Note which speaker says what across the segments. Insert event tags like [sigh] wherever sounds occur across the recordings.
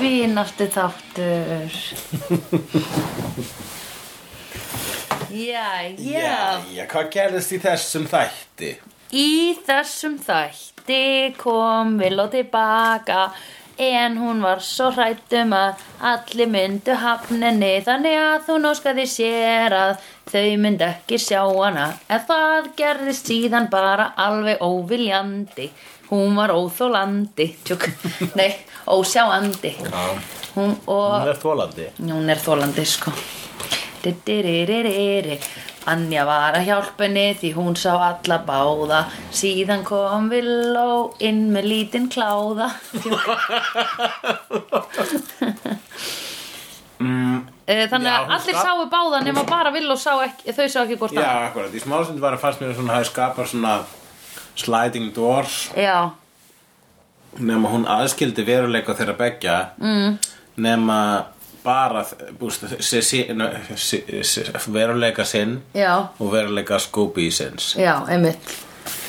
Speaker 1: vináttu þáttur Já, já
Speaker 2: Jæja, hvað gerðist í þessum þætti?
Speaker 1: Í þessum þætti kom Villó tilbaka en hún var svo hrætt um að allir myndu hafninni þannig að hún óskaði sér að þau myndu ekki sjá hana en það gerðist síðan bara alveg óviljandi hún var óþólandi tjúk, nei, ósjáandi hún og
Speaker 2: Hún er þólandi
Speaker 1: Hún er þólandi sko Didiririri. Anja var að hjálpa henni því hún sá alla báða Síðan kom Villó inn með lítinn kláða Eh, Þannig
Speaker 2: Mm, Já,
Speaker 1: að
Speaker 2: hún
Speaker 1: allir
Speaker 2: skap-
Speaker 1: sáu báða nema bara Villó sá ekki, þau sá ekki hvort
Speaker 2: Já, akkurat, í smálstund var að fannst mér að hún hafi skapað svona sliding doors
Speaker 1: annað. Já,
Speaker 2: nema hún aðskildi veruleika þeirra beggja mm. nema bara búst, si, si, no, si, si, veruleika sinn
Speaker 1: já,
Speaker 2: og veruleika Scooby sinns
Speaker 1: já, einmitt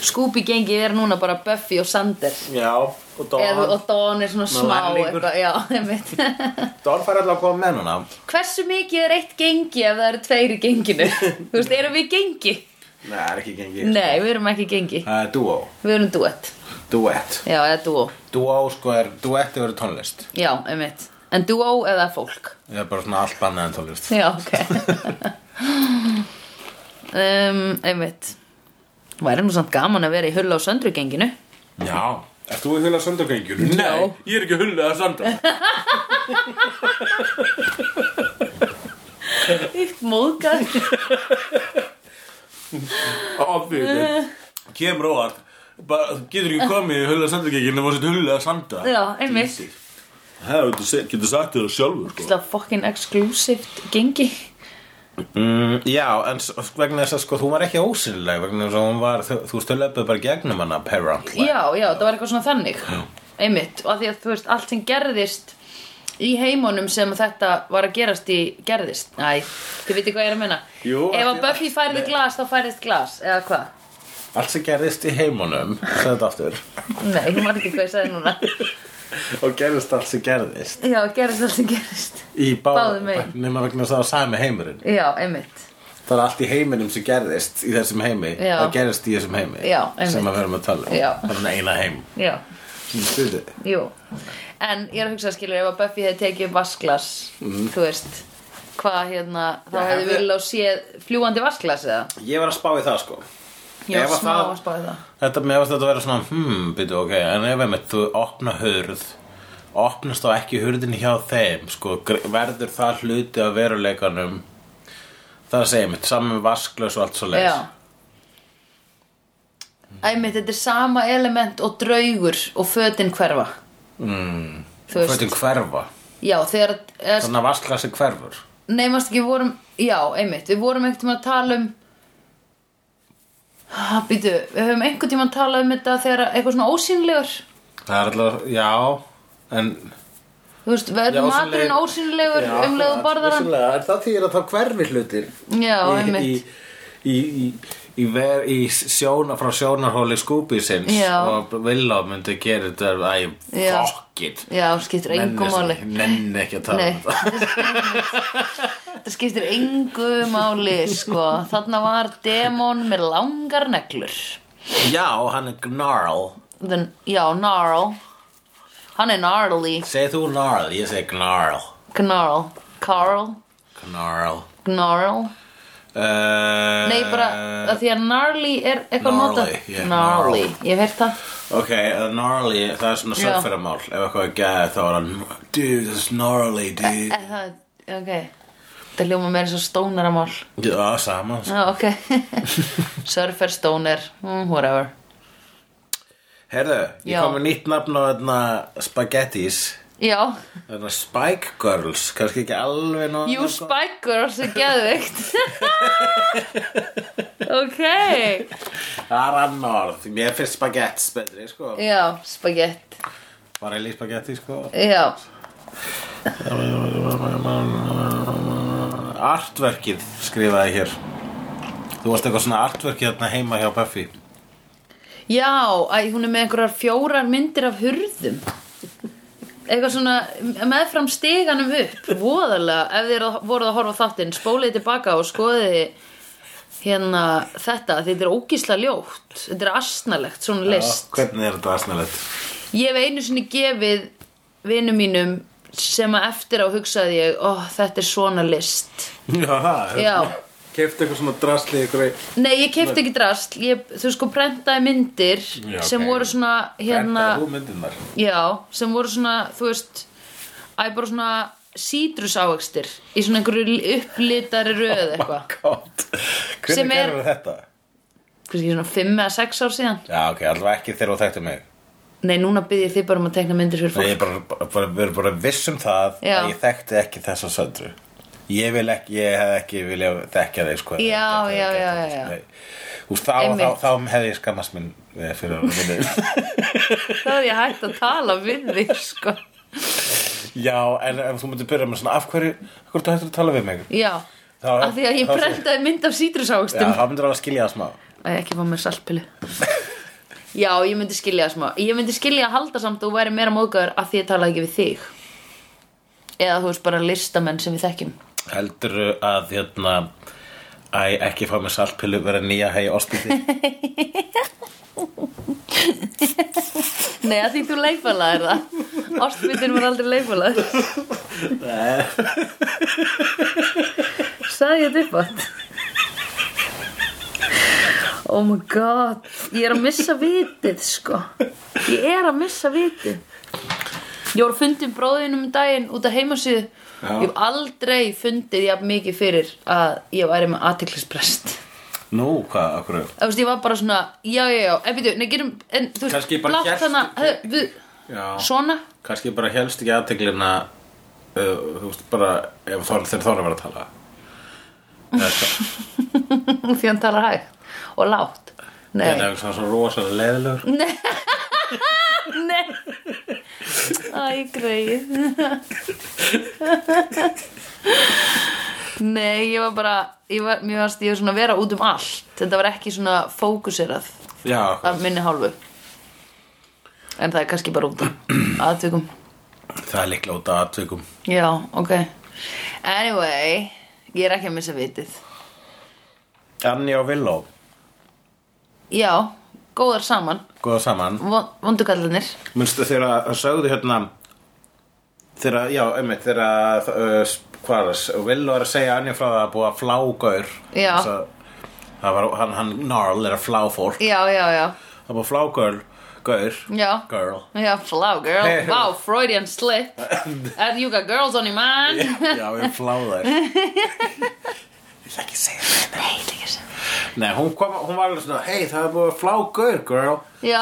Speaker 1: Scooby gengið er núna bara Buffy og Sander
Speaker 2: Já, og
Speaker 1: Eða, og Dawn er svona smá
Speaker 2: lærlingur.
Speaker 1: eitthvað, já, einmitt
Speaker 2: Don fær alltaf að koma með hana
Speaker 1: Hversu mikið er eitt gengi ef það eru tveir í genginu? Þú veist, erum við gengi?
Speaker 2: Nei, það er ekki gengið
Speaker 1: Nei, við erum ekki gengi.
Speaker 2: Það er duo,
Speaker 1: Við erum duett.
Speaker 2: duett
Speaker 1: Já, eða duó.
Speaker 2: Duo sko er, duetti verið tónlist
Speaker 1: Já, einmitt. En duó eða fólk.
Speaker 2: Það er bara svona allt annað en tónlist
Speaker 1: Já, ok. um, einmitt. Væri nú samt gaman að vera í hulla á söndru genginu.
Speaker 2: Já Ert þú í hula söndagöngjur?
Speaker 1: Nei,
Speaker 2: ég er ekki hulla að söndag
Speaker 1: Ítt móðgar.
Speaker 2: Ofbyrðin Kemur óvart Bara, þú getur ekki komið í hulla söndagöngjur nema sett hulla að sanda
Speaker 1: Já, einmitt.
Speaker 2: Það getur sagt þér það sjálfur sko.
Speaker 1: Það fokkin exclusivt gengi.
Speaker 2: mm, Já, en s- vegna þess að sko, þú var ekki ósynleg vegna þess að hún var, þú, þú veist, þau löpuð bara gegnum hana apparently
Speaker 1: Já, já, það var eitthvað svona þannig einmitt, og að því að þú veist, allt sem gerðist í heimunum sem þetta var að gerast í gerðist Æ, þið veitir hvað ég er að menna
Speaker 2: Jú,
Speaker 1: Ef
Speaker 2: allt
Speaker 1: að
Speaker 2: í-
Speaker 1: Buffy færði glas, þá færðist glas eða hvað?
Speaker 2: Allt sem gerðist í heimunum sagði þetta aftur
Speaker 1: Nei, ég man ekki hvað ég sagði núna
Speaker 2: og gerðist allt sem gerðist
Speaker 1: [laughs] Já, gerðist allt sem gerist
Speaker 2: í bá,
Speaker 1: Báðum megin.
Speaker 2: nema vegna þess að það var sami heimurinn
Speaker 1: Já, einmitt
Speaker 2: Það er allt í heiminum sem gerðist í þessum heimi
Speaker 1: Já.
Speaker 2: Það gerðist í þessum heimi
Speaker 1: Já, einmitt.
Speaker 2: Sem að verðum að tala um
Speaker 1: Já.
Speaker 2: Það er svona eina heim
Speaker 1: Já,
Speaker 2: Stuði.
Speaker 1: jú En ég er að hugsa að skilur, ef að Buffy hefði tekið vasklas, þú veist hvað hérna, þá
Speaker 2: Já,
Speaker 1: hefði
Speaker 2: hefði-
Speaker 1: vel á séð fljúandi vasklas eða?
Speaker 2: Ég var að spá í það sko
Speaker 1: Já,
Speaker 2: Ef að
Speaker 1: smá
Speaker 2: það-
Speaker 1: að spáði það
Speaker 2: Þetta með að þetta vera svona Hmm, byrju, ok En ef einmitt þú opna hurð Opnast þá ekki hurðin hjá þeim sko, gr- Verður það hluti af veruleikanum Það er að segja mitt Saman vasklaus og allt svo leis
Speaker 1: Já Æmitt, þetta er sama element og draugur og fötin hverfa
Speaker 2: mm.
Speaker 1: Þú veist.
Speaker 2: Fötin hverfa
Speaker 1: Já, þegar er,
Speaker 2: Þannig að vasklasi hverfur
Speaker 1: Neymast ekki við vorum Já, einmitt, við vorum einhvern tímann að tala um Ha, býtu, við höfum einhvern tímann að tala um þetta þegar eitthvað svona ósýnlegur
Speaker 2: Það er alltaf, já En
Speaker 1: Þú veist, verður
Speaker 2: Já,
Speaker 1: maturinn ósýnlegur
Speaker 2: Já,
Speaker 1: um leiðu
Speaker 2: akkurat,
Speaker 1: borðar hann
Speaker 2: vissulega. En það þýðir að þá hverfi hlutir
Speaker 1: Já,
Speaker 2: Í-
Speaker 1: einmitt.
Speaker 2: Í, í, í, í, ver, í sjóna, frá sjónarhóli skúbisins
Speaker 1: Já.
Speaker 2: og Villá myndi gera þetta æ,
Speaker 1: Já.
Speaker 2: fokkit
Speaker 1: Já, skiptir engu máli
Speaker 2: Nenni ekki að tala
Speaker 1: Nei,
Speaker 2: um það
Speaker 1: þetta skiptir engu máli, sko Þarna var demon með langar neglur
Speaker 2: [laughs] Já, hann er gnarl
Speaker 1: The, já, Gnarl Hann er gnarly
Speaker 2: Segð þú gnarl, ég segi gnarl
Speaker 1: Gnarl Carl
Speaker 2: Gnarl
Speaker 1: Gnarl
Speaker 2: uh,
Speaker 1: Nei, bara að því að gnarly er eitthvað nota
Speaker 2: Gnarly, yeah,
Speaker 1: Gnarly, ég hef heyrt það
Speaker 2: Ok, uh, gnarly, það er svona
Speaker 1: Já.
Speaker 2: sögferðamál Ef eitthvað er gæði þá er hann Dude, that's gnarly, dude
Speaker 1: Eh, Það, ok Það hljóma meira svo stónaramál
Speaker 2: Já, saman
Speaker 1: Já,
Speaker 2: [laughs]
Speaker 1: ok Surfer, stóner, mm, whatever
Speaker 2: Herðu, ég
Speaker 1: Já.
Speaker 2: kom með nýtt nafn á þarna Spaghettis
Speaker 1: Já,
Speaker 2: Þarna Spike Girls, kannski ekki alveg ná
Speaker 1: you spike girls er geðveikt Ok
Speaker 2: Það er annar orð, mér finnst spagettis betri, sko
Speaker 1: Já, spagett
Speaker 2: Var eilig spagetti, sko
Speaker 1: Já,
Speaker 2: Artverkið skrifaði hér Þú varst eitthvað svona artverkið þarna heima hjá Buffy
Speaker 1: Já, æ, hún er með einhverjar fjórar myndir af hurðum eitthvað svona meðfram stiganum upp voðalega ef þið eru að- voruð að horfa á þáttinn spóliði tilbaka og skoðiði hérna þetta því þetta er ógísla ljótt þetta er asnalegt svona list
Speaker 2: Hvernig er þetta aðsnalegt?
Speaker 1: ég hef einu sinni gefið vinnum mínum sem að eftir á hugsaði ég ó þetta er svona list
Speaker 2: [laughs] Já, það
Speaker 1: já
Speaker 3: Kefti eitthvað svona drasli ykkur
Speaker 1: Nei, ég kefti ekki drast, ég, þú sko prentaði myndir
Speaker 2: Já,
Speaker 1: sem
Speaker 2: ok.
Speaker 1: voru svona hérna,
Speaker 2: Þetta þú [laughs] myndirnar
Speaker 1: Já, sem voru svona, þú veist Æ, bara svona sítrusávextir Í svona einhverju upplitari
Speaker 2: Oh
Speaker 1: röð eitthvað
Speaker 2: Gátt
Speaker 1: Sem
Speaker 2: Hvernig
Speaker 1: er-
Speaker 2: gerður þetta?
Speaker 1: Hverski svona fimm eða sex ár síðan
Speaker 2: Já, ok, allavega ekki þegar þú þekktu mig
Speaker 1: Nei, núna byrði ég þið bara um að tekna myndir fyrir
Speaker 2: Nei,
Speaker 1: fólk
Speaker 2: ég er bara, bara, bara, bara, bara viss um það
Speaker 1: Já.
Speaker 2: að ég þekkti ekki þessa söndru ég vil ekki, ég hef ekki vilja þekka þig sko
Speaker 1: Já,
Speaker 2: Þetta er
Speaker 1: já,
Speaker 2: ekki
Speaker 1: já,
Speaker 2: þetta,
Speaker 1: já, já.
Speaker 2: sko. nei. Þú veist, þá, þá,
Speaker 1: Einmitt.
Speaker 2: þá, hefði ég skammast minn eh, fyrir að
Speaker 1: [laughs]
Speaker 2: minni
Speaker 1: Þá er ég hægt að tala við þig, sko
Speaker 2: Já, en ef þú myndir byrja með svona af hverju, af hverju þú hættur að tala við mig
Speaker 1: Já,
Speaker 2: Þá-
Speaker 1: af því að ég
Speaker 2: þá-
Speaker 1: prentaði mynd af
Speaker 2: Já,
Speaker 1: sítrusávextum
Speaker 2: þá myndir alveg að skilja það smá
Speaker 1: Æ, ekki fá mér salpilu Já, ég myndi skilja það smá Ég myndi skilja að halda samt og væri meira móðgæður af því ég talaði ekki við þig Eða þú veist bara listamenn sem við þekkjum
Speaker 2: Heldur að hérna Æ, ekki fá mér saltpilu vera nýja hei ostbiti
Speaker 1: Nei, að því þú leifalaðir það Ástbyttin var aldrei leifalaður Sæði ég þetta upp átt Oh my god Ég er að missa vitið, sko Ég er að missa vitið Ég var að fundin bróðinum um daginn út af heimasíðu Ég hef aldrei fundið jafn mikið fyrir að ég væri með athyglisprest
Speaker 2: Nú, hvað, af hverju?
Speaker 1: Þú veist, ég var bara svona, já, já, já, en býtu, nei, gerum, en þú veist,
Speaker 2: Kannski bara hélt-
Speaker 1: hana, hef, við,
Speaker 2: Já.
Speaker 1: svona, [laughs]
Speaker 2: kannski bara helst ekki aðteglina uh, þú veist bara ef þor, þeir þóra verið að tala eða hvað,
Speaker 1: því hann talar hægt og lágt. Nei, Mm.
Speaker 2: en ef það er svo rosalega leðilegur
Speaker 1: [laughs] nei, æ, greið. [laughs] nei, ég var bara, ég var, mér varst, ég var svona að vera út um allt, þetta var ekki svona fókuserað
Speaker 2: já,
Speaker 1: af minni hálfu. En það er kannski bara út um aðtökum.
Speaker 2: það er líklega út af atveikum
Speaker 1: Já, ok. Anyway, ég er ekki að missa vitið.
Speaker 2: Anni og Villó,
Speaker 1: Já, góðar saman
Speaker 2: góða saman
Speaker 1: Von- Vondu kallanir
Speaker 2: munstu þegar að sögðu hérna þegar, að- já, einmitt þegar að, uh, hvað er það, Villó er að segja Anni frá það að búa að flágaur
Speaker 1: Já.
Speaker 2: það var, hann, hann Gnarl er að flá fólk
Speaker 1: Já, já, já
Speaker 2: það búa að flágaur, gaur
Speaker 1: Já.
Speaker 2: girl
Speaker 1: Já, flá girl,
Speaker 2: Hey.
Speaker 1: wow, Freudian slip And you got girls on your mind
Speaker 2: Já, ég flá þær [laughs] Ég ætla ekki að segja það
Speaker 1: Nei, þetta ekki sem
Speaker 2: Nei, hún, kom, hún var alveg svona Hei, það er búið að flá gaur, girl
Speaker 1: Já,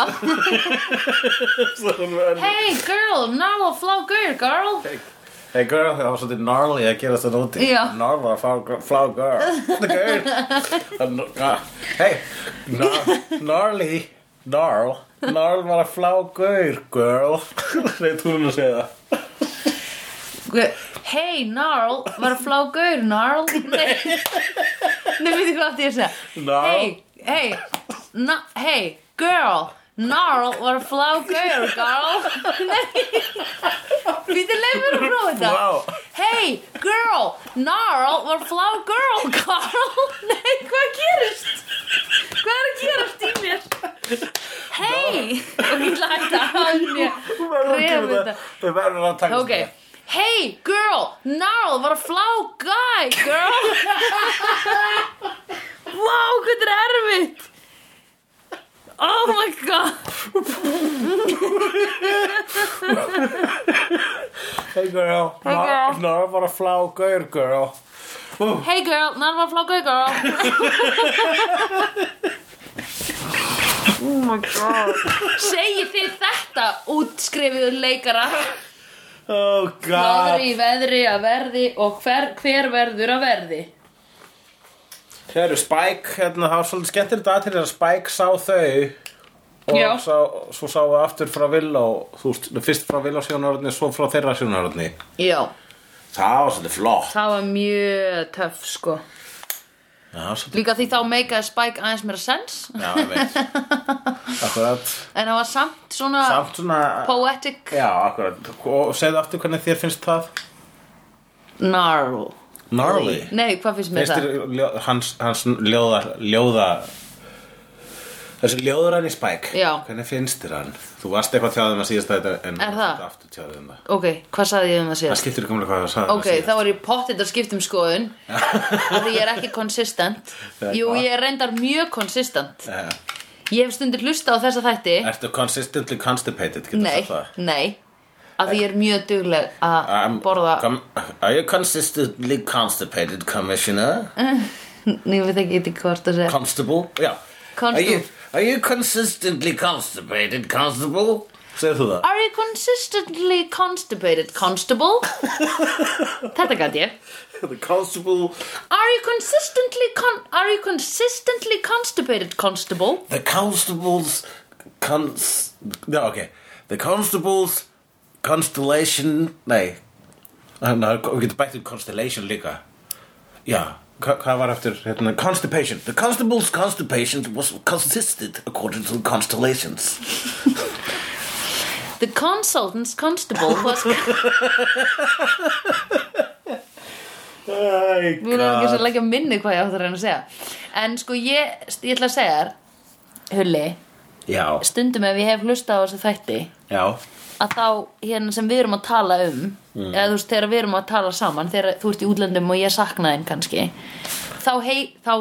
Speaker 2: Svo hún var-
Speaker 1: hey girl, now a flá girl, girl
Speaker 2: Hey girl, það var svolítið gnarly að gera þetta úti
Speaker 1: Já.
Speaker 2: Gnarl var að flá, flá girl The girl ah, Hey, gnar- gnarly Gnarl Gnarl var að flá gaur, girl Nei, þú erum að segja það
Speaker 1: Gu- Hey, Gnarl, var að flá gaur, Gnarl Nei, nei, veitir hvað átti ég að segja
Speaker 2: Gnarl.
Speaker 1: Hey, hey, na, hey, girl Gnarl, var að flá gaur, girl [laughs] Nei Veitir, leið mér að prófa þetta
Speaker 2: Vá.
Speaker 1: Hey, girl, Gnarl, var að flá girl, [laughs] girl Nei, hvað gerist? Hvað er að gerast í mér? Hey, og ég ætla að hætta að mér Ref þetta
Speaker 2: Við verðum að taka
Speaker 1: Okay. Hey, girl, Gnarl var að flá guy, girl. wow, hvað þetta er erfitt. Oh my god.
Speaker 2: Hey girl, hey
Speaker 1: girl.
Speaker 2: Gnarl var að flá gaur, girl
Speaker 1: Hey, girl, Gnarl var að flá guy, girl. oh my god. Segji þið þetta, útskrifiðu leikara.
Speaker 2: Oh god
Speaker 1: Náður í veðri að verði og hver, hver verður að verði.
Speaker 2: Það eru Spike, hérna, það var svolítið skemmtilegt aðtrið að Spike sá þau
Speaker 1: Já.
Speaker 2: og sá, svo sá við aftur frá Villó, þú veist, fyrst frá Villó sjónaröðni, svo frá þeirra sjónaröðni.
Speaker 1: Já,
Speaker 2: Það var svolítið flott.
Speaker 1: það var mjög töff, sko.
Speaker 2: Já, Já, svolítið.
Speaker 1: Líka því þá meikaði Spike aðeins meira sens
Speaker 2: Já, ég veit. Akkurat.
Speaker 1: En það var samt svona
Speaker 2: Samt svona...
Speaker 1: poetic
Speaker 2: Já, akkurat. Og segðu aftur hvernig þér finnst það?
Speaker 1: gnarl
Speaker 2: Gnarly.
Speaker 1: Nei, hvað finnst mér
Speaker 2: Finnst
Speaker 1: það?
Speaker 2: þér ljó- hans, hans ljóða, ljóða... Þessi ljóðræni spæk.
Speaker 1: Já.
Speaker 2: Hvernig finnst þér hann? Þú varst eitthvað tjáðum að síðast þetta en...
Speaker 1: Er það?
Speaker 2: Aftur tjáðum það.
Speaker 1: Ok, hvað sagði ég um það
Speaker 2: Það
Speaker 1: síðast?
Speaker 2: skiptir ekki um hvað það sagði
Speaker 1: Ok, þá var ég pottið að skipta um
Speaker 2: [laughs]
Speaker 1: skoðun af því ég er ekki konsistent
Speaker 2: Það er
Speaker 1: Jú,
Speaker 2: gott.
Speaker 1: ég er reyndar mjög konsistent
Speaker 2: það...
Speaker 1: Ég hef stundir hlusta á þessa þætti
Speaker 2: Ertu consistently constipated? getur
Speaker 1: Nei,
Speaker 2: sagt það? Um,
Speaker 1: nei Af því ég er mjög dugleg að
Speaker 2: I'm-
Speaker 1: borða
Speaker 2: com- Are you consistently constipated, commissioner?
Speaker 1: Eh? Nei, við þekki ekki hvort að segja
Speaker 2: Constable? Já.
Speaker 1: Constable.
Speaker 2: Are you, are you consistently constipated, constable? Segðu þú það?
Speaker 1: Are you consistently constipated, constable? Þetta gæti ég
Speaker 2: [laughs] The constable...
Speaker 1: Are you consistently con Are you consistently constipated, constable?
Speaker 2: The constable's... Cons... No, ok. The constable's constellation... Nei. Nei, nei, við getum bætt um constellation líka. Já. hva- Hvað var eftir hérna? Constipation. The constable's constipation was consisted according to the constellations.
Speaker 1: The consultant's constable was
Speaker 2: [laughs] Æ,
Speaker 1: Mér er ekki svo leggja minni hvað ég átti að reyna að segja En sko ég, ég ætla að segja þér Hulli,
Speaker 2: Já,
Speaker 1: stundum ef ég hef hlustað á þessu þætti
Speaker 2: já,
Speaker 1: Að þá hérna sem við erum að tala um
Speaker 2: Mm.
Speaker 1: Eða þú veist þegar við erum að tala saman Þegar þú ert í útlöndum og ég sakna þeim kannski Þá, hei, þá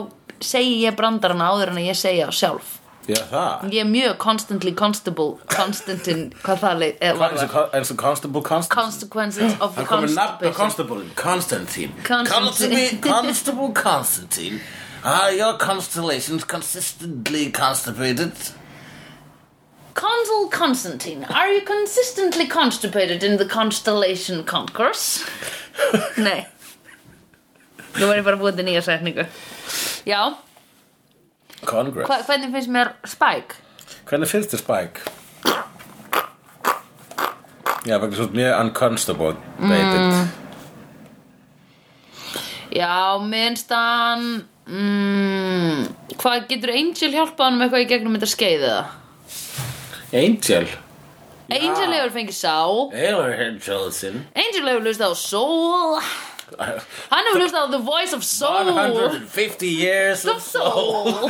Speaker 1: segi ég brandarana áður en að ég segja þá sjálf
Speaker 2: já það
Speaker 1: Ég er mjög constantly constable Constantin, hvað það leið eh,
Speaker 2: Hvað
Speaker 1: var
Speaker 2: er
Speaker 1: það?
Speaker 2: það? Er það Constable Constantine?
Speaker 1: Consequences of the
Speaker 2: Það komið nafn á
Speaker 1: constipation
Speaker 2: Constable Constantine
Speaker 1: Constantine.
Speaker 2: Constantine Constable Constantine Are your constellations consistently constipated?
Speaker 1: Consul Constantine, are you consistently constipated in the Constellation Concourse? [laughs] Nei. Nú er ég bara búin til nýja setningu. Já,
Speaker 2: Congress
Speaker 1: hva, hvernig finnst mér Spike?
Speaker 2: Hvernig finnst þér Spike? Já, vegna svo mjög unconstable mm.
Speaker 1: Já, minnst hann... Mm, hvað, getur Angel hjálpað hann með eitthvað í gegnum þetta skeiðið það?
Speaker 2: Angel
Speaker 1: Angel hefur fengið sá.
Speaker 2: Taylor Angelson
Speaker 1: Angel hefur hlustað á Soul. Hann hefur hlustað á The Voice of Soul.
Speaker 2: 150 years
Speaker 1: the
Speaker 2: of soul
Speaker 1: soul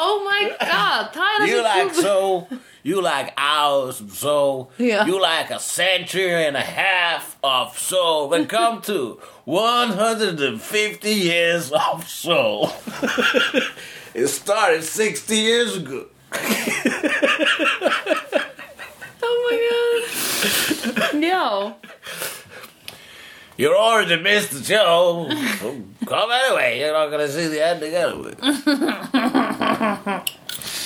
Speaker 1: Oh my god, það er
Speaker 2: You like
Speaker 1: ekki
Speaker 2: soul. You like hours of soul.
Speaker 1: Yeah.
Speaker 2: You like a century and a half of soul. Then come to 150 years of soul. [laughs] it started 60 years ago.
Speaker 1: Oh my god Já,
Speaker 2: You're already missed the show. So come anyway. You're not going to see the ending anyway.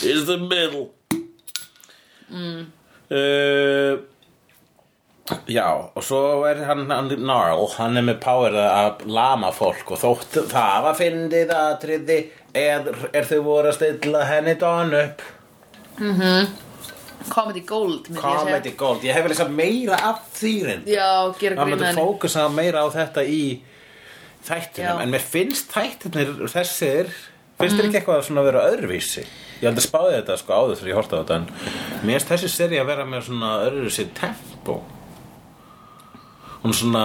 Speaker 2: it's the middle. Uh, já, og svo er hann, hann Gnarl, hann er með power að lama fólk og þótt það var fyndið atriði er, er þau voru að stilla henni don upp
Speaker 1: Comedy Gold myndi ég segja.
Speaker 2: Comedy Gold, ég hef vel eitthvað meira af þýrin
Speaker 1: Já, gera
Speaker 2: Það myndi
Speaker 1: grínan
Speaker 2: fókusa meira á þetta í þættinum,
Speaker 1: Já. Mhm.
Speaker 2: en mér finnst þættinir þessir, finnst þér ekki eitthvað svona að vera öðruvísi? Ég held að spáði þetta sko áður þegar ég horfði á þetta, en mér finnst þessi seri að vera með svona öðruvísi tempo. Hún svona,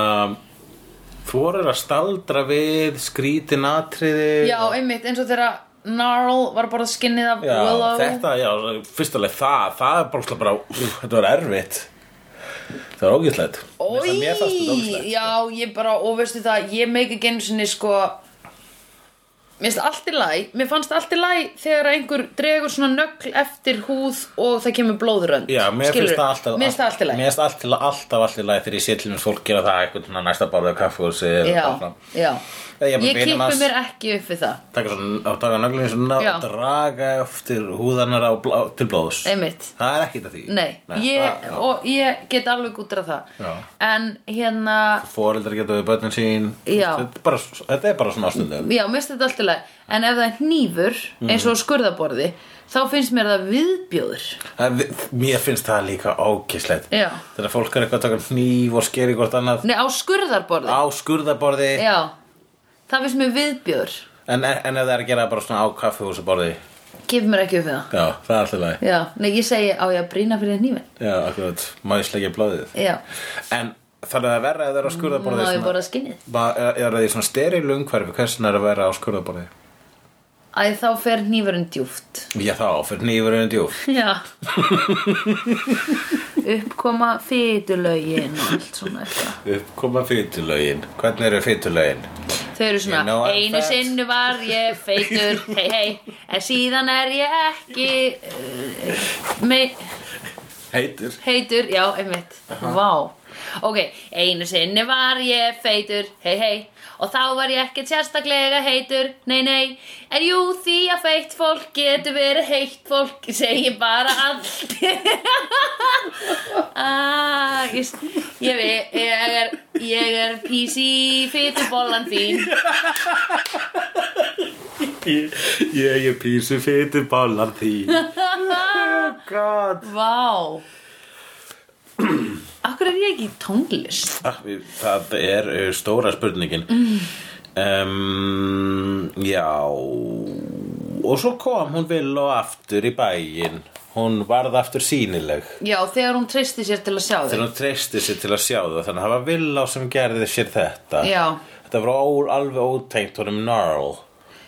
Speaker 2: þú voru að staldra við, skrítin atriði.
Speaker 1: Já, einmitt, eins og þegar Gnarl var bara skinnið af
Speaker 2: Já,
Speaker 1: Willow
Speaker 2: þetta, já, fyrstulega það, það er bara, bara úf, þetta var erfitt. Það var ógæslegt.
Speaker 1: Ói,
Speaker 2: Mér fannst þetta sko. ógæslegt.
Speaker 1: já, ég bara, og veistu það, ég meik ekki einu sinni sko Mér finnst allt í læg, mér fannst allt í læg þegar einhver dregur svona nögl eftir húð og það kemur blóðrönd
Speaker 2: Já, mér finnst það alltaf
Speaker 1: Mér finnst það allt í læg
Speaker 2: Mér finnst allt til- alltaf allt í lagi þegar ég sé til mér fólk gera það eitthvað svona næsta borðið á kaffuhúsi eða eitthvað
Speaker 1: Já,
Speaker 2: svona.
Speaker 1: já
Speaker 2: Eða
Speaker 1: Ég
Speaker 2: jafnvel vinum
Speaker 1: kippi
Speaker 2: hans.
Speaker 1: mér ekki upp við það,
Speaker 2: Taka svona, að taka nöglunni svona
Speaker 1: Já.
Speaker 2: og draga eftir húðanar á, blá, til blóðs
Speaker 1: einmitt
Speaker 2: Það er ekkert að því
Speaker 1: Nei, ég,
Speaker 2: það- já.
Speaker 1: og ég get alveg útrað það
Speaker 2: Já.
Speaker 1: En hérna,
Speaker 2: Foreldrar geta við börnin sín
Speaker 1: Já. Mm.
Speaker 2: Þetta er bara, þetta er bara svona ástundum
Speaker 1: já, mér finnst þetta allt í læg En ef það er hnífur,
Speaker 2: Mhm.
Speaker 1: eins og á skurðaborði Þá finnst mér það viðbjóður
Speaker 2: Mér finnst það líka ókislegt
Speaker 1: Já.
Speaker 2: Þegar fólk er eitthvað að taka hníf og skeri hvort annað
Speaker 1: Nei, á skurðarborði
Speaker 2: Á skurðaborði
Speaker 1: Já, Það finnst mér viðbjör
Speaker 2: En, e- en ef það er að gera það bara svona á kaffihúsaborði
Speaker 1: Gef mér ekki upp við það
Speaker 2: Já, það er alltaf lagi
Speaker 1: Já, nei, ég segi á ég að brýna fyrir nýfin
Speaker 2: Já, akkurat, má ég slegja blóðið
Speaker 1: Já,
Speaker 2: En þannig að það er verra að það
Speaker 1: Mm,
Speaker 2: er á
Speaker 1: má
Speaker 2: skurðaborði
Speaker 1: ég bara skinnið
Speaker 2: Ég er að því svona sterilu umhverfi Hversin er að vera á skurðaborði
Speaker 1: Æ, þá fer nýfurinn djúft
Speaker 2: Já þá, fyrir nýfurinn djú
Speaker 1: Já [laughs] Uppkoma fytulögin og allt svona eitthvað
Speaker 2: Uppkoma fytulögin Hvernig eru fytulögin?
Speaker 1: Þau eru svona,
Speaker 2: You know I'm
Speaker 1: einu
Speaker 2: fat."
Speaker 1: sinnu var ég feitur, hei hei, en síðan er ég ekki uh, me,
Speaker 2: Heitir
Speaker 1: heitur, já, einmitt, vá. Ok, einu sinni var ég feitur, hei hei, og þá var ég ekkert sérstaklega heitur, nei nei, en jú því að feitt fólk getur verið heitt fólk, [laughs] segi bara allt. [laughs] ah, ég, s- ég, ve- ég er, ég er PC feitubollan þín. [laughs]
Speaker 2: Ég er písu fytuballar því
Speaker 1: [laughs]
Speaker 2: God
Speaker 1: Vá Akkur er ég ekki í tónlist
Speaker 2: Ah, Það er uh, stóra spurningin mm. Já Og svo kom hún vil og aftur í bæinn Hún varð aftur sýnileg
Speaker 1: Já, þegar hún treysti sér til að sjá þig
Speaker 2: Þegar hún treysti sér til að sjá það Þannig að það var Villá sem gerði sér þetta
Speaker 1: Já.
Speaker 2: Þetta var ó, alveg ótengt honum Gnarl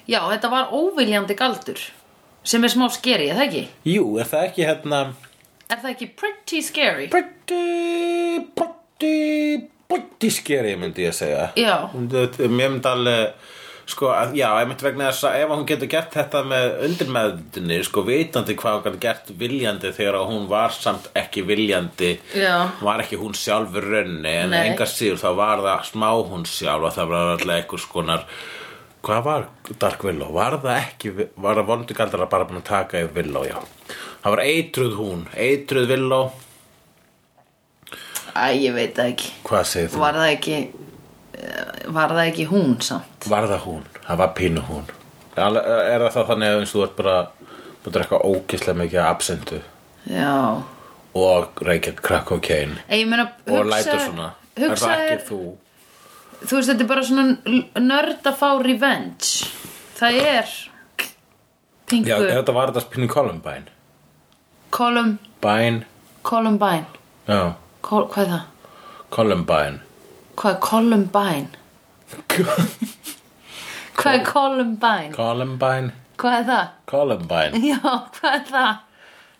Speaker 1: Já, þetta var óviljandi galdur sem er smá skeri, er það ekki?
Speaker 2: Jú, er það ekki hérna
Speaker 1: Er það ekki pretty scary?
Speaker 2: Pretty, pretty, pretty scary myndi ég að segja
Speaker 1: Já.
Speaker 2: Þetta- Mér myndi alveg sko, að, já, ég myndi vegna þess að ef hún getur gert þetta með undirmeðinni sko, vitandi hvað hún getur gert viljandi þegar að hún var samt ekki viljandi
Speaker 1: Já.
Speaker 2: var ekki hún sjálfur raunni en
Speaker 1: Nei.
Speaker 2: enga síður þá var það smá hún sjálf og það var alltaf einhvers konar hvað var Dark Willow? Var það ekki, var það vondu galdara bara búin að taka yfir Willow, já það var eitruð hún, eitruð Willow
Speaker 1: Æ, ég veit það ekki
Speaker 2: hvað segir þú?
Speaker 1: Var það ekki eh, Var það ekki hún samt?
Speaker 2: Var það hún? Það var pínu hún Er er það þá þannig að eins og þú ert bara búin að drekka ógislega mikið af absintu
Speaker 1: Já
Speaker 2: og reykja crack cocaine
Speaker 1: Ég meina,
Speaker 2: og
Speaker 1: hugsa-
Speaker 2: lætur svona Er
Speaker 1: Hugsa
Speaker 2: það ekki þú?
Speaker 1: þú veist, þetta er bara svona l- nörd að fá revenge Það er
Speaker 2: Já,
Speaker 1: Pingu,
Speaker 2: þetta var þetta pínu Columbine
Speaker 1: Colum,
Speaker 2: Bæn,
Speaker 1: Columbine
Speaker 2: já,
Speaker 1: Col, hvað er það?
Speaker 2: Columbine
Speaker 1: Hvað er Columbine? Hvað er Columbine?
Speaker 2: Columbine,
Speaker 1: Hvað er það? [laughs]
Speaker 2: Columbine
Speaker 1: Já, hvað er það?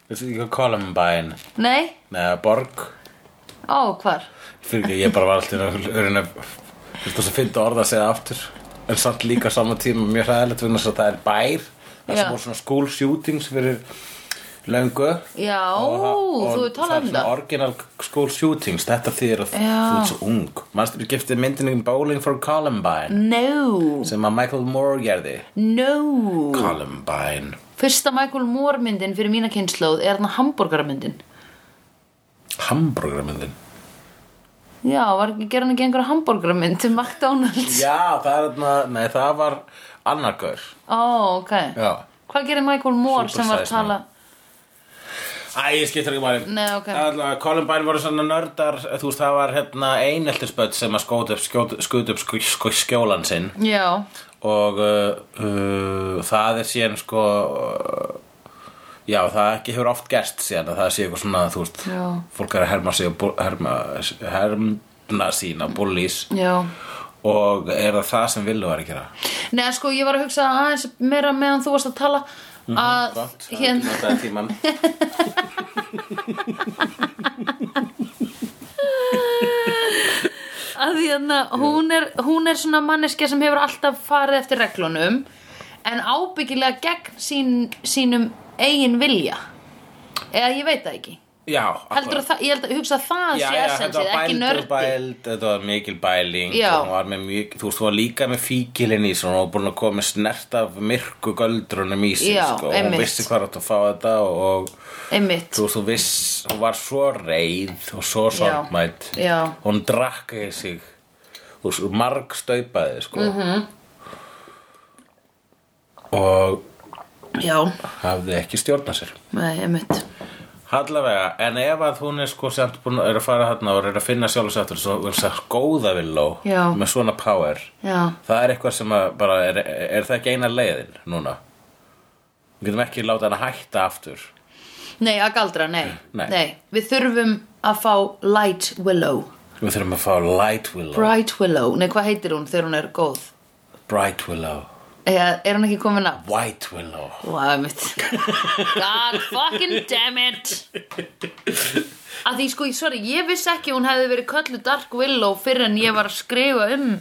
Speaker 2: Þetta er ekki Columbine
Speaker 1: Nei?
Speaker 2: Neða, Borg
Speaker 1: Ó, hvar?
Speaker 2: Fyrir ekki, ég bara var alltaf örin að Þetta svo fyndi orða að segja aftur En samt líka á sama tíma mjög hræðilegt Vegna þess að það er bær Það
Speaker 1: Já.
Speaker 2: sem voru svona school shootings fyrir löngu
Speaker 1: Já, þú hefur talað um
Speaker 2: það er svona
Speaker 1: það.
Speaker 2: Original school shootings, þetta þýðir að
Speaker 1: Já.
Speaker 2: þú ert svo ung Manstu við giftið myndinni um Bowling for
Speaker 1: Mm.
Speaker 2: Columbine
Speaker 1: No,
Speaker 2: Sem að Michael Moore gerði
Speaker 1: no
Speaker 2: Columbine
Speaker 1: Fyrsta Michael Moore myndin fyrir mína kynnslóð er hann hambúrgarmyndin
Speaker 2: Hamburgermyndin
Speaker 1: Já, var ekki gerðan ekki einhverja hambúrgarmynd til McDonalds
Speaker 2: Já, það er þarna, nei það var annarkaur
Speaker 1: Ó, ok
Speaker 2: Já.
Speaker 1: Hvað gerir Michael Moore
Speaker 2: Super
Speaker 1: sem var að
Speaker 2: size man.
Speaker 1: tala
Speaker 2: Æ, ég skiptir ekki máli
Speaker 1: Nei, ok.
Speaker 2: Alla, Columbine voru svona nördar Þú veist, það var hérna eineltisböld sem að skóta upp, skjót, skjóta upp skj- skj- skjólan sinn
Speaker 1: Já,
Speaker 2: og uh, uh, það er síðan sko uh, já, það ekki hefur oft gerst síðan að það sé eitthvað svona, þú veist
Speaker 1: Já.
Speaker 2: fólk er að herma sig og bú- herma, hermna sína bullís
Speaker 1: já
Speaker 2: og er það það sem villu var að gera
Speaker 1: Nei, en sko, ég var að hugsa aðeins meira meðan þú varst að tala að
Speaker 2: Mhm, Gott, það er ekki
Speaker 1: hérna,
Speaker 2: notaði
Speaker 1: [laughs]
Speaker 2: tíman
Speaker 1: að hérna hún, er, hún er svona manneskja sem hefur alltaf farið eftir reglunum en ábyggilega gegn sín, sínum eigin vilja eða ég veit það ekki
Speaker 2: Já,
Speaker 1: Heldur
Speaker 2: akkurat.
Speaker 1: það, ég held að hugsa að það
Speaker 2: já,
Speaker 1: sé
Speaker 2: já, þetta
Speaker 1: essensið,
Speaker 2: var
Speaker 1: ekki
Speaker 2: bæld og
Speaker 1: nördi
Speaker 2: bæld þetta var mikil bæling
Speaker 1: Já.
Speaker 2: og hún var með mjög, þú veist, þú var líka með fíkilinn í sig, hún var búin að koma með snert af myrku göldrunum í sig
Speaker 1: Já,
Speaker 2: sko, og hún
Speaker 1: einmitt.
Speaker 2: vissi hvað átt að fá þetta og,
Speaker 1: einmitt,
Speaker 2: þú veist, hún viss hún var svo reið og svo sorgmætt
Speaker 1: Já.
Speaker 2: hún drakk í sig þú veist, marg staupaði sko.
Speaker 1: Mhm.
Speaker 2: -hmm. og
Speaker 1: já
Speaker 2: hafði ekki stjórna sér
Speaker 1: nei, einmitt
Speaker 2: Allavega, en ef að hún er sko semt búin að er að fara þarna og er að finna sjálfsættur svo hún sagði góða villó
Speaker 1: Já.
Speaker 2: með svona power
Speaker 1: Já,
Speaker 2: það er eitthvað sem að bara er, er það ekki eina leiðin núna við getum ekki láta hann að hætta aftur
Speaker 1: nei að galdra, nei.
Speaker 2: Nei.
Speaker 1: Við þurfum að fá Light Willow
Speaker 2: við þurfum að fá Light Willow
Speaker 1: Bright Willow, nei hvað heitir hún þegar hún er góð?
Speaker 2: Bright Willow,
Speaker 1: Eða, er hún ekki komin af?
Speaker 2: White Willow
Speaker 1: Wow, mitt God fucking damn it Að því sko, ég- sorry, ég vissi ekki að hún hefði verið köllu Dark Willow fyrir en ég var að skrifa um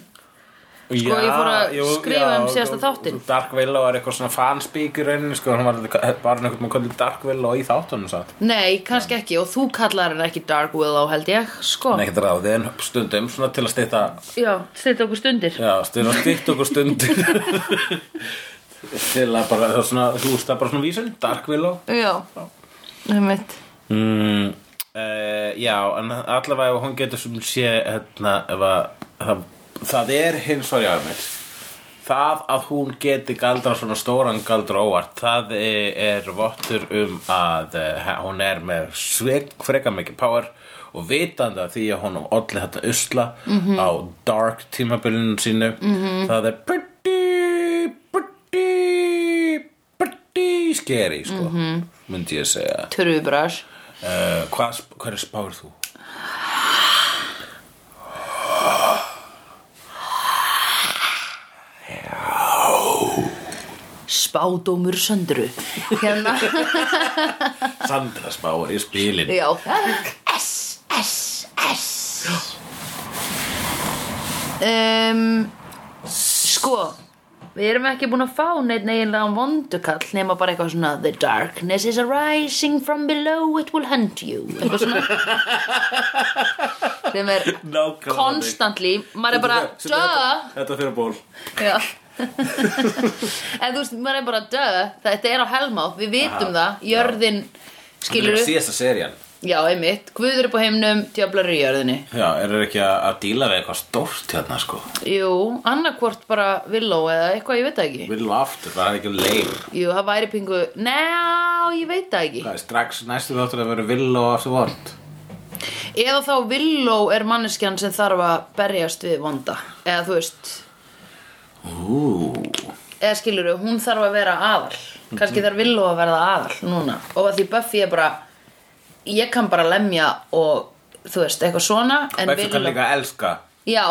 Speaker 2: Sko
Speaker 1: ég fór að skrifa um síðasta þáttinn.
Speaker 2: Dark Willow er eitthvað svona fanspeak í rauninni sko, hann var bara einhvern veginn kallið Dark Willow í þáttunum satt
Speaker 1: Nei, kannski ekki og þú kallar henni ekki Dark Willow held ég, sko
Speaker 2: Nei, ekkert ráðið en stundum svona til að stýta
Speaker 1: Já, stýtt okkur stundir
Speaker 2: Já, stýta stýtt okkur stundum Til að bara það er svona, þú veist það er bara svona vísun Dark Willow
Speaker 1: Já, einmitt
Speaker 2: mm, uh, Já, en allavega ef hún getur sem sé hérna, ef að, það, það er hins var jáður mér Það að hún geti galdra svona stóran galdra óvart Það er, er vottur um að uh, hún er með sveg, freka mikið power Og vitandi að því að hún olli þetta usla á dark tímabilinu sínu -hmm. Það er pretty, pretty, pretty scary sko Myndi ég segja
Speaker 1: Turubrar
Speaker 2: uh, Hvað, sp- hverju spáir þú?
Speaker 1: Spádómur söndru Hérna
Speaker 2: Sandra spáir í spilin
Speaker 1: Já S, S, S um, Sko Við erum ekki búin að fá neitt eiginlega vondukall nema bara eitthvað svona The darkness is arising from below it will hunt you eitthvað svona sem er
Speaker 2: Nákvæmlega
Speaker 1: constantly maður er bara
Speaker 2: Sem er
Speaker 1: duh
Speaker 2: þetta- Þetta fyrir ból
Speaker 1: Já En þú veist, maður er bara döð Þetta er á helmátt, við vitum það Jörðin, skilur við
Speaker 2: Síðasta serían
Speaker 1: Já, einmitt, guður upp á heimnum Djöflar í jörðinni
Speaker 2: Já, eru ekki að, að díla við eitthvað stórt hérna sko
Speaker 1: Jú, annarkvort bara villó eða eitthvað, ég veit það ekki
Speaker 2: Viljum aftur, það er ekki um leið
Speaker 1: Jú, það væri pingu Ná, ég veit það ekki
Speaker 2: Hvað er strax næstu þáttur að vera vill og aftur vond
Speaker 1: Eða þá villó er manneskjan sem þarf að berjast við vonda Eða þú veist,
Speaker 2: Ú,
Speaker 1: eða skilur við, hún þarf að vera aðal
Speaker 2: Mhm.
Speaker 1: Kannski þarf villó að verða aðal núna Og að því Buffy er bara Ég kann bara lemja og þú veist, eitthvað svona En
Speaker 2: Buffy kann
Speaker 1: villó
Speaker 2: líka að elska
Speaker 1: Já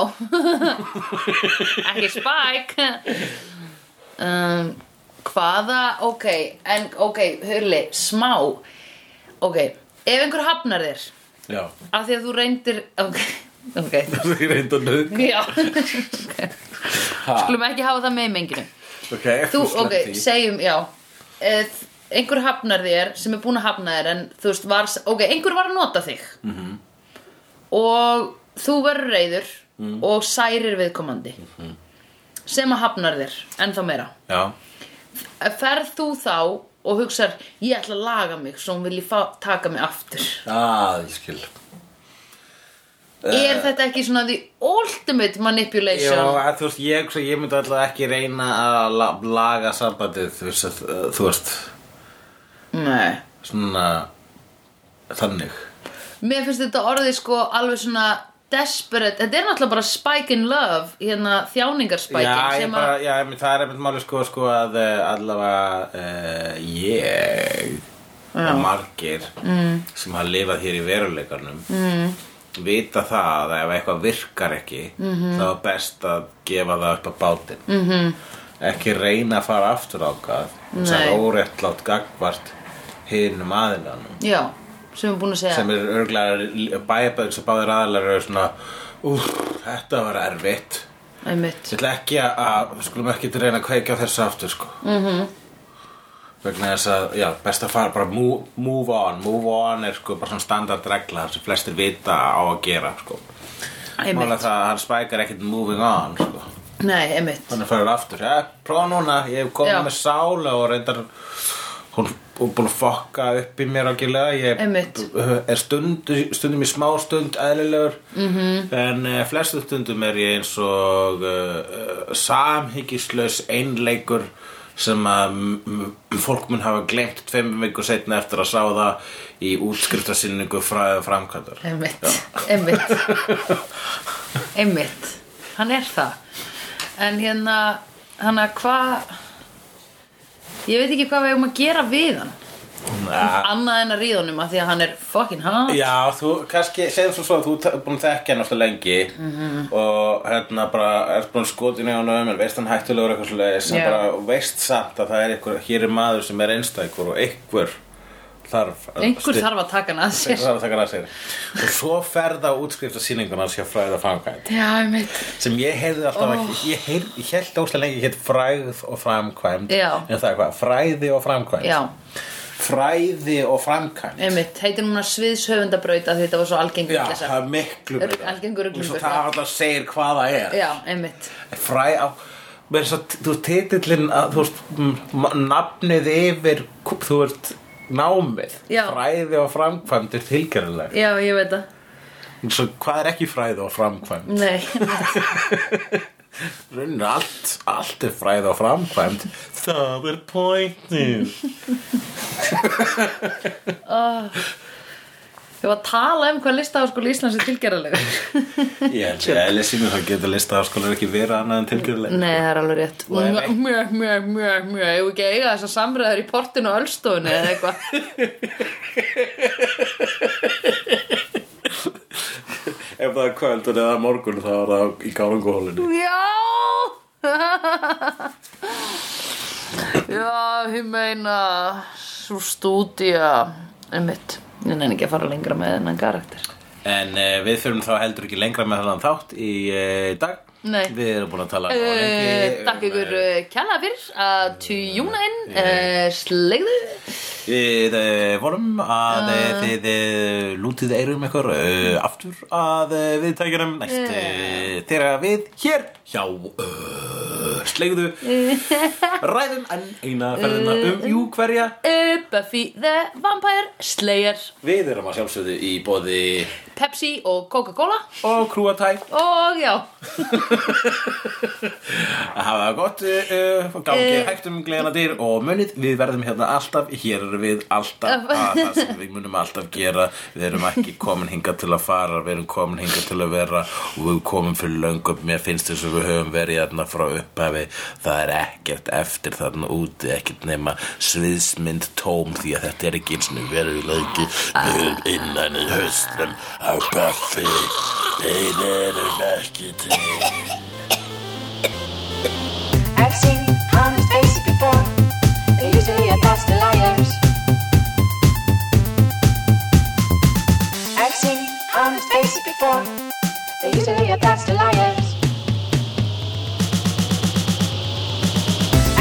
Speaker 1: [laughs] Ekki Spike um, Hvaða, ok En ok, hurli, smá Ok, ef einhver hafnar þér
Speaker 2: Já, [laughs]
Speaker 1: Af því að þú reyndir Ok, ok
Speaker 2: það er reynda nöðg
Speaker 1: Já, skulum ekki hafa það með í menginu
Speaker 2: Ok,
Speaker 1: þú,
Speaker 2: slepp
Speaker 1: ok,
Speaker 2: því.
Speaker 1: segjum, já Eð, einhver hafnar þér sem er búin að hafna þér en þú veist, var, ok, einhver var að nota þig -hmm. og þú verður reyður og særir viðkomandi -hmm. sem að hafnar þér ennþá meira Eh,
Speaker 2: Já,
Speaker 1: ferð þú þá og hugsar ég ætla að laga mig svo hún vilji fá, taka mig aftur
Speaker 2: að, ég skil
Speaker 1: er þetta ekki svona the ultimate
Speaker 2: Já,
Speaker 1: manipulation
Speaker 2: að, þú veist, ég, svo, ég myndi alltaf ekki reyna að la, laga sambandið Þú veist, að, uh, þú veist
Speaker 1: nei
Speaker 2: svona Þannig
Speaker 1: Mér finnst þetta orðið sko alveg svona desperate, þetta er náttúrulega bara spike in love, hérna þjáningarspækin
Speaker 2: Já, ég
Speaker 1: sem að,
Speaker 2: bara, já, einmitt, það er einmitt máli sko, sko að eh, allavega uh, ég og margir mm. sem hafa lifað hér í veruleikarnum mm. vita það að ef eitthvað virkar ekki
Speaker 1: Mhm.
Speaker 2: -hmm. þá er best að gefa það upp á bátinn -hmm. ekki reyna að fara aftur ákað sem er
Speaker 1: Nei.
Speaker 2: óréttlátt gagvart hinum aðilanum
Speaker 1: já, sem er búin að segja
Speaker 2: sem er örglega bæjabæður sem báðir aðilar eru svona úf, þetta var erfitt
Speaker 1: einmitt,
Speaker 2: Ég ætla ekki að- að, við skulum ekki til reyna að kveikja á þessu aftur, sko. Mm -hmm. Vegna þess að, já, best að fara bara move, move on. Move on er sko bara svona standard regla sem flestir vita á að gera, sko. Mála
Speaker 1: einmitt,
Speaker 2: það að hann spækar ekkert moving on, sko.
Speaker 1: nei, einmitt
Speaker 2: Þannig fyrir aftur, ja, prófa núna, ég hef komið
Speaker 1: Já.
Speaker 2: með sála og reyndar, hún hún búin að fokka upp í mér ákjölega, ég
Speaker 1: Einmitt.
Speaker 2: er stund, stundum í smá stund eðlilegur,
Speaker 1: Mhm.
Speaker 2: -hmm. en uh, flestu stundum er ég eins og uh, uh, samhyggislaus eh, einleikur sem að mm, fólk mun hafa glemt tveimur viku setna eftir að sá það í útskriftarsinningu fra, framkvæmdar
Speaker 1: [laughs] Einmitt,
Speaker 2: [laughs]
Speaker 1: einmitt Einmitt Hann er það En hérna, hann að hvað Ég veit ekki hvað við eigum að gera við hann
Speaker 2: Na,
Speaker 1: Annað en að ríða honum að því að hann er fucking hot
Speaker 2: Já, þú, kannski, segjum svo svo að þú er búin að þekkja hann alltaf lengi
Speaker 1: Mhm.
Speaker 2: og hérna bara er búin að skotin í honum en veist hann hættulegur eitthvað svo leiðis
Speaker 1: Já.
Speaker 2: en bara veist samt að það er einhver, hér er maður sem er einstækur og einhver þarf að
Speaker 1: Einhver
Speaker 2: styð-
Speaker 1: þarf að taka hann að
Speaker 2: einhver
Speaker 1: sér
Speaker 2: þarf að taka það að segja og svo ferða útskriftasýninguna sér fræða framkvæmt
Speaker 1: Já, einmitt
Speaker 2: sem ég heyrði alltaf
Speaker 1: Oh.
Speaker 2: ekki, ég, heyrði, ég held óslega lengi hétt fræð og framkvæmt
Speaker 1: Já.
Speaker 2: en það er hvað, fræði og framkvæmt
Speaker 1: Já,
Speaker 2: fræði og framkvæmt
Speaker 1: einmitt Heitir núna sviðshöfundabraut af því þetta var svo algengur
Speaker 2: Já,
Speaker 1: vitleysa.
Speaker 2: það er miklu
Speaker 1: Örg-
Speaker 2: meira.
Speaker 1: algengur
Speaker 2: Og svo
Speaker 1: ruglungur,
Speaker 2: það
Speaker 1: já.
Speaker 2: alltaf segir hvað það er
Speaker 1: Já, einmitt
Speaker 2: Fræ á Mér er svo, þú veist, titillin að, Þú veist, m- nafnið yfir Þú veist, námið
Speaker 1: Já.
Speaker 2: Fræði og framkvæmd er tilgjörlega
Speaker 1: Já, ég veit það
Speaker 2: Svo hvað er ekki fræði og framkvæmd?
Speaker 1: [laughs] Nei,
Speaker 2: Runnur allt, allt er fræði og framkvæmd Það er pointið
Speaker 1: við varum að tala um hvað listaháskóli Íslands er tilgerðalegur
Speaker 2: Ég held ég, eða sínum það getur listað að skóla ekki vera annað en tilgjörlega
Speaker 1: [laughs] Nei, það er alveg rétt
Speaker 2: Og ef
Speaker 1: Mjög,
Speaker 2: ein-
Speaker 1: mjög, mjög, mjög, mjög Ég ekki að eiga þessar samræður í portinu og ölstofunni eða [laughs] eitthvað
Speaker 2: Ef það er kvöld og eða morgun þá er það í gálanguhólinu
Speaker 1: Já [laughs] Já, ég meina Svo stúdía Einmitt, ég nefn ekki að fara lengra með þennan karakter
Speaker 2: En uh, við þurfum þá heldur ekki lengra með þennan þátt í uh, dag
Speaker 1: Nei.
Speaker 2: Við erum búin að tala nógu
Speaker 1: Uh,
Speaker 2: lengi um,
Speaker 1: takk ykkur
Speaker 2: eh,
Speaker 1: uh, kjalla fyrir að tjúna inn uh, slegðu
Speaker 2: Við uh, vorum að
Speaker 1: Ah.
Speaker 2: uh. þið uh, lútið eyrum ykkur uh, aftur að uh, við tækjum næst
Speaker 1: Eh.
Speaker 2: uh, þegar við hér hjá uh,
Speaker 1: [laughs]
Speaker 2: slegðu ræðum enn eina ferðina
Speaker 1: Eh.
Speaker 2: um jú hverja
Speaker 1: uh, Buffy the Vampire Slayer
Speaker 2: Við erum að sjálfsögðu í bóði
Speaker 1: Pepsi og Coca-Cola
Speaker 2: og krúatæ
Speaker 1: og já
Speaker 2: að hafa það gott uh, gangi
Speaker 1: Eh.
Speaker 2: hægt um gleðina dyr og munið við verðum hérna alltaf, hér erum við alltaf að það sem við munum alltaf gera við erum ekki komin hingað til að fara við erum komin hingað til að vera og við komum fyrir löngum, mér finnst þess að við höfum verið hérna frá upphafi það er ekkert eftir þarna úti ekkert nema sviðsmynd tóm því að þetta er ekki eins og verið leiki við erum innan í höstum á Buffy þeir eru ekki til
Speaker 4: I've seen honest faces before. They're usually a pass to liars. I've seen honest faces before. They're usually a pass to liars.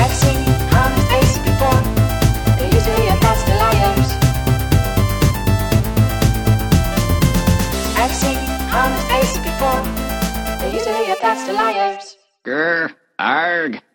Speaker 4: I've seen honest faces before. They're usually a pass to liars. I've seen honest faces before. They're usually a pass to liars.
Speaker 5: Grr, arg.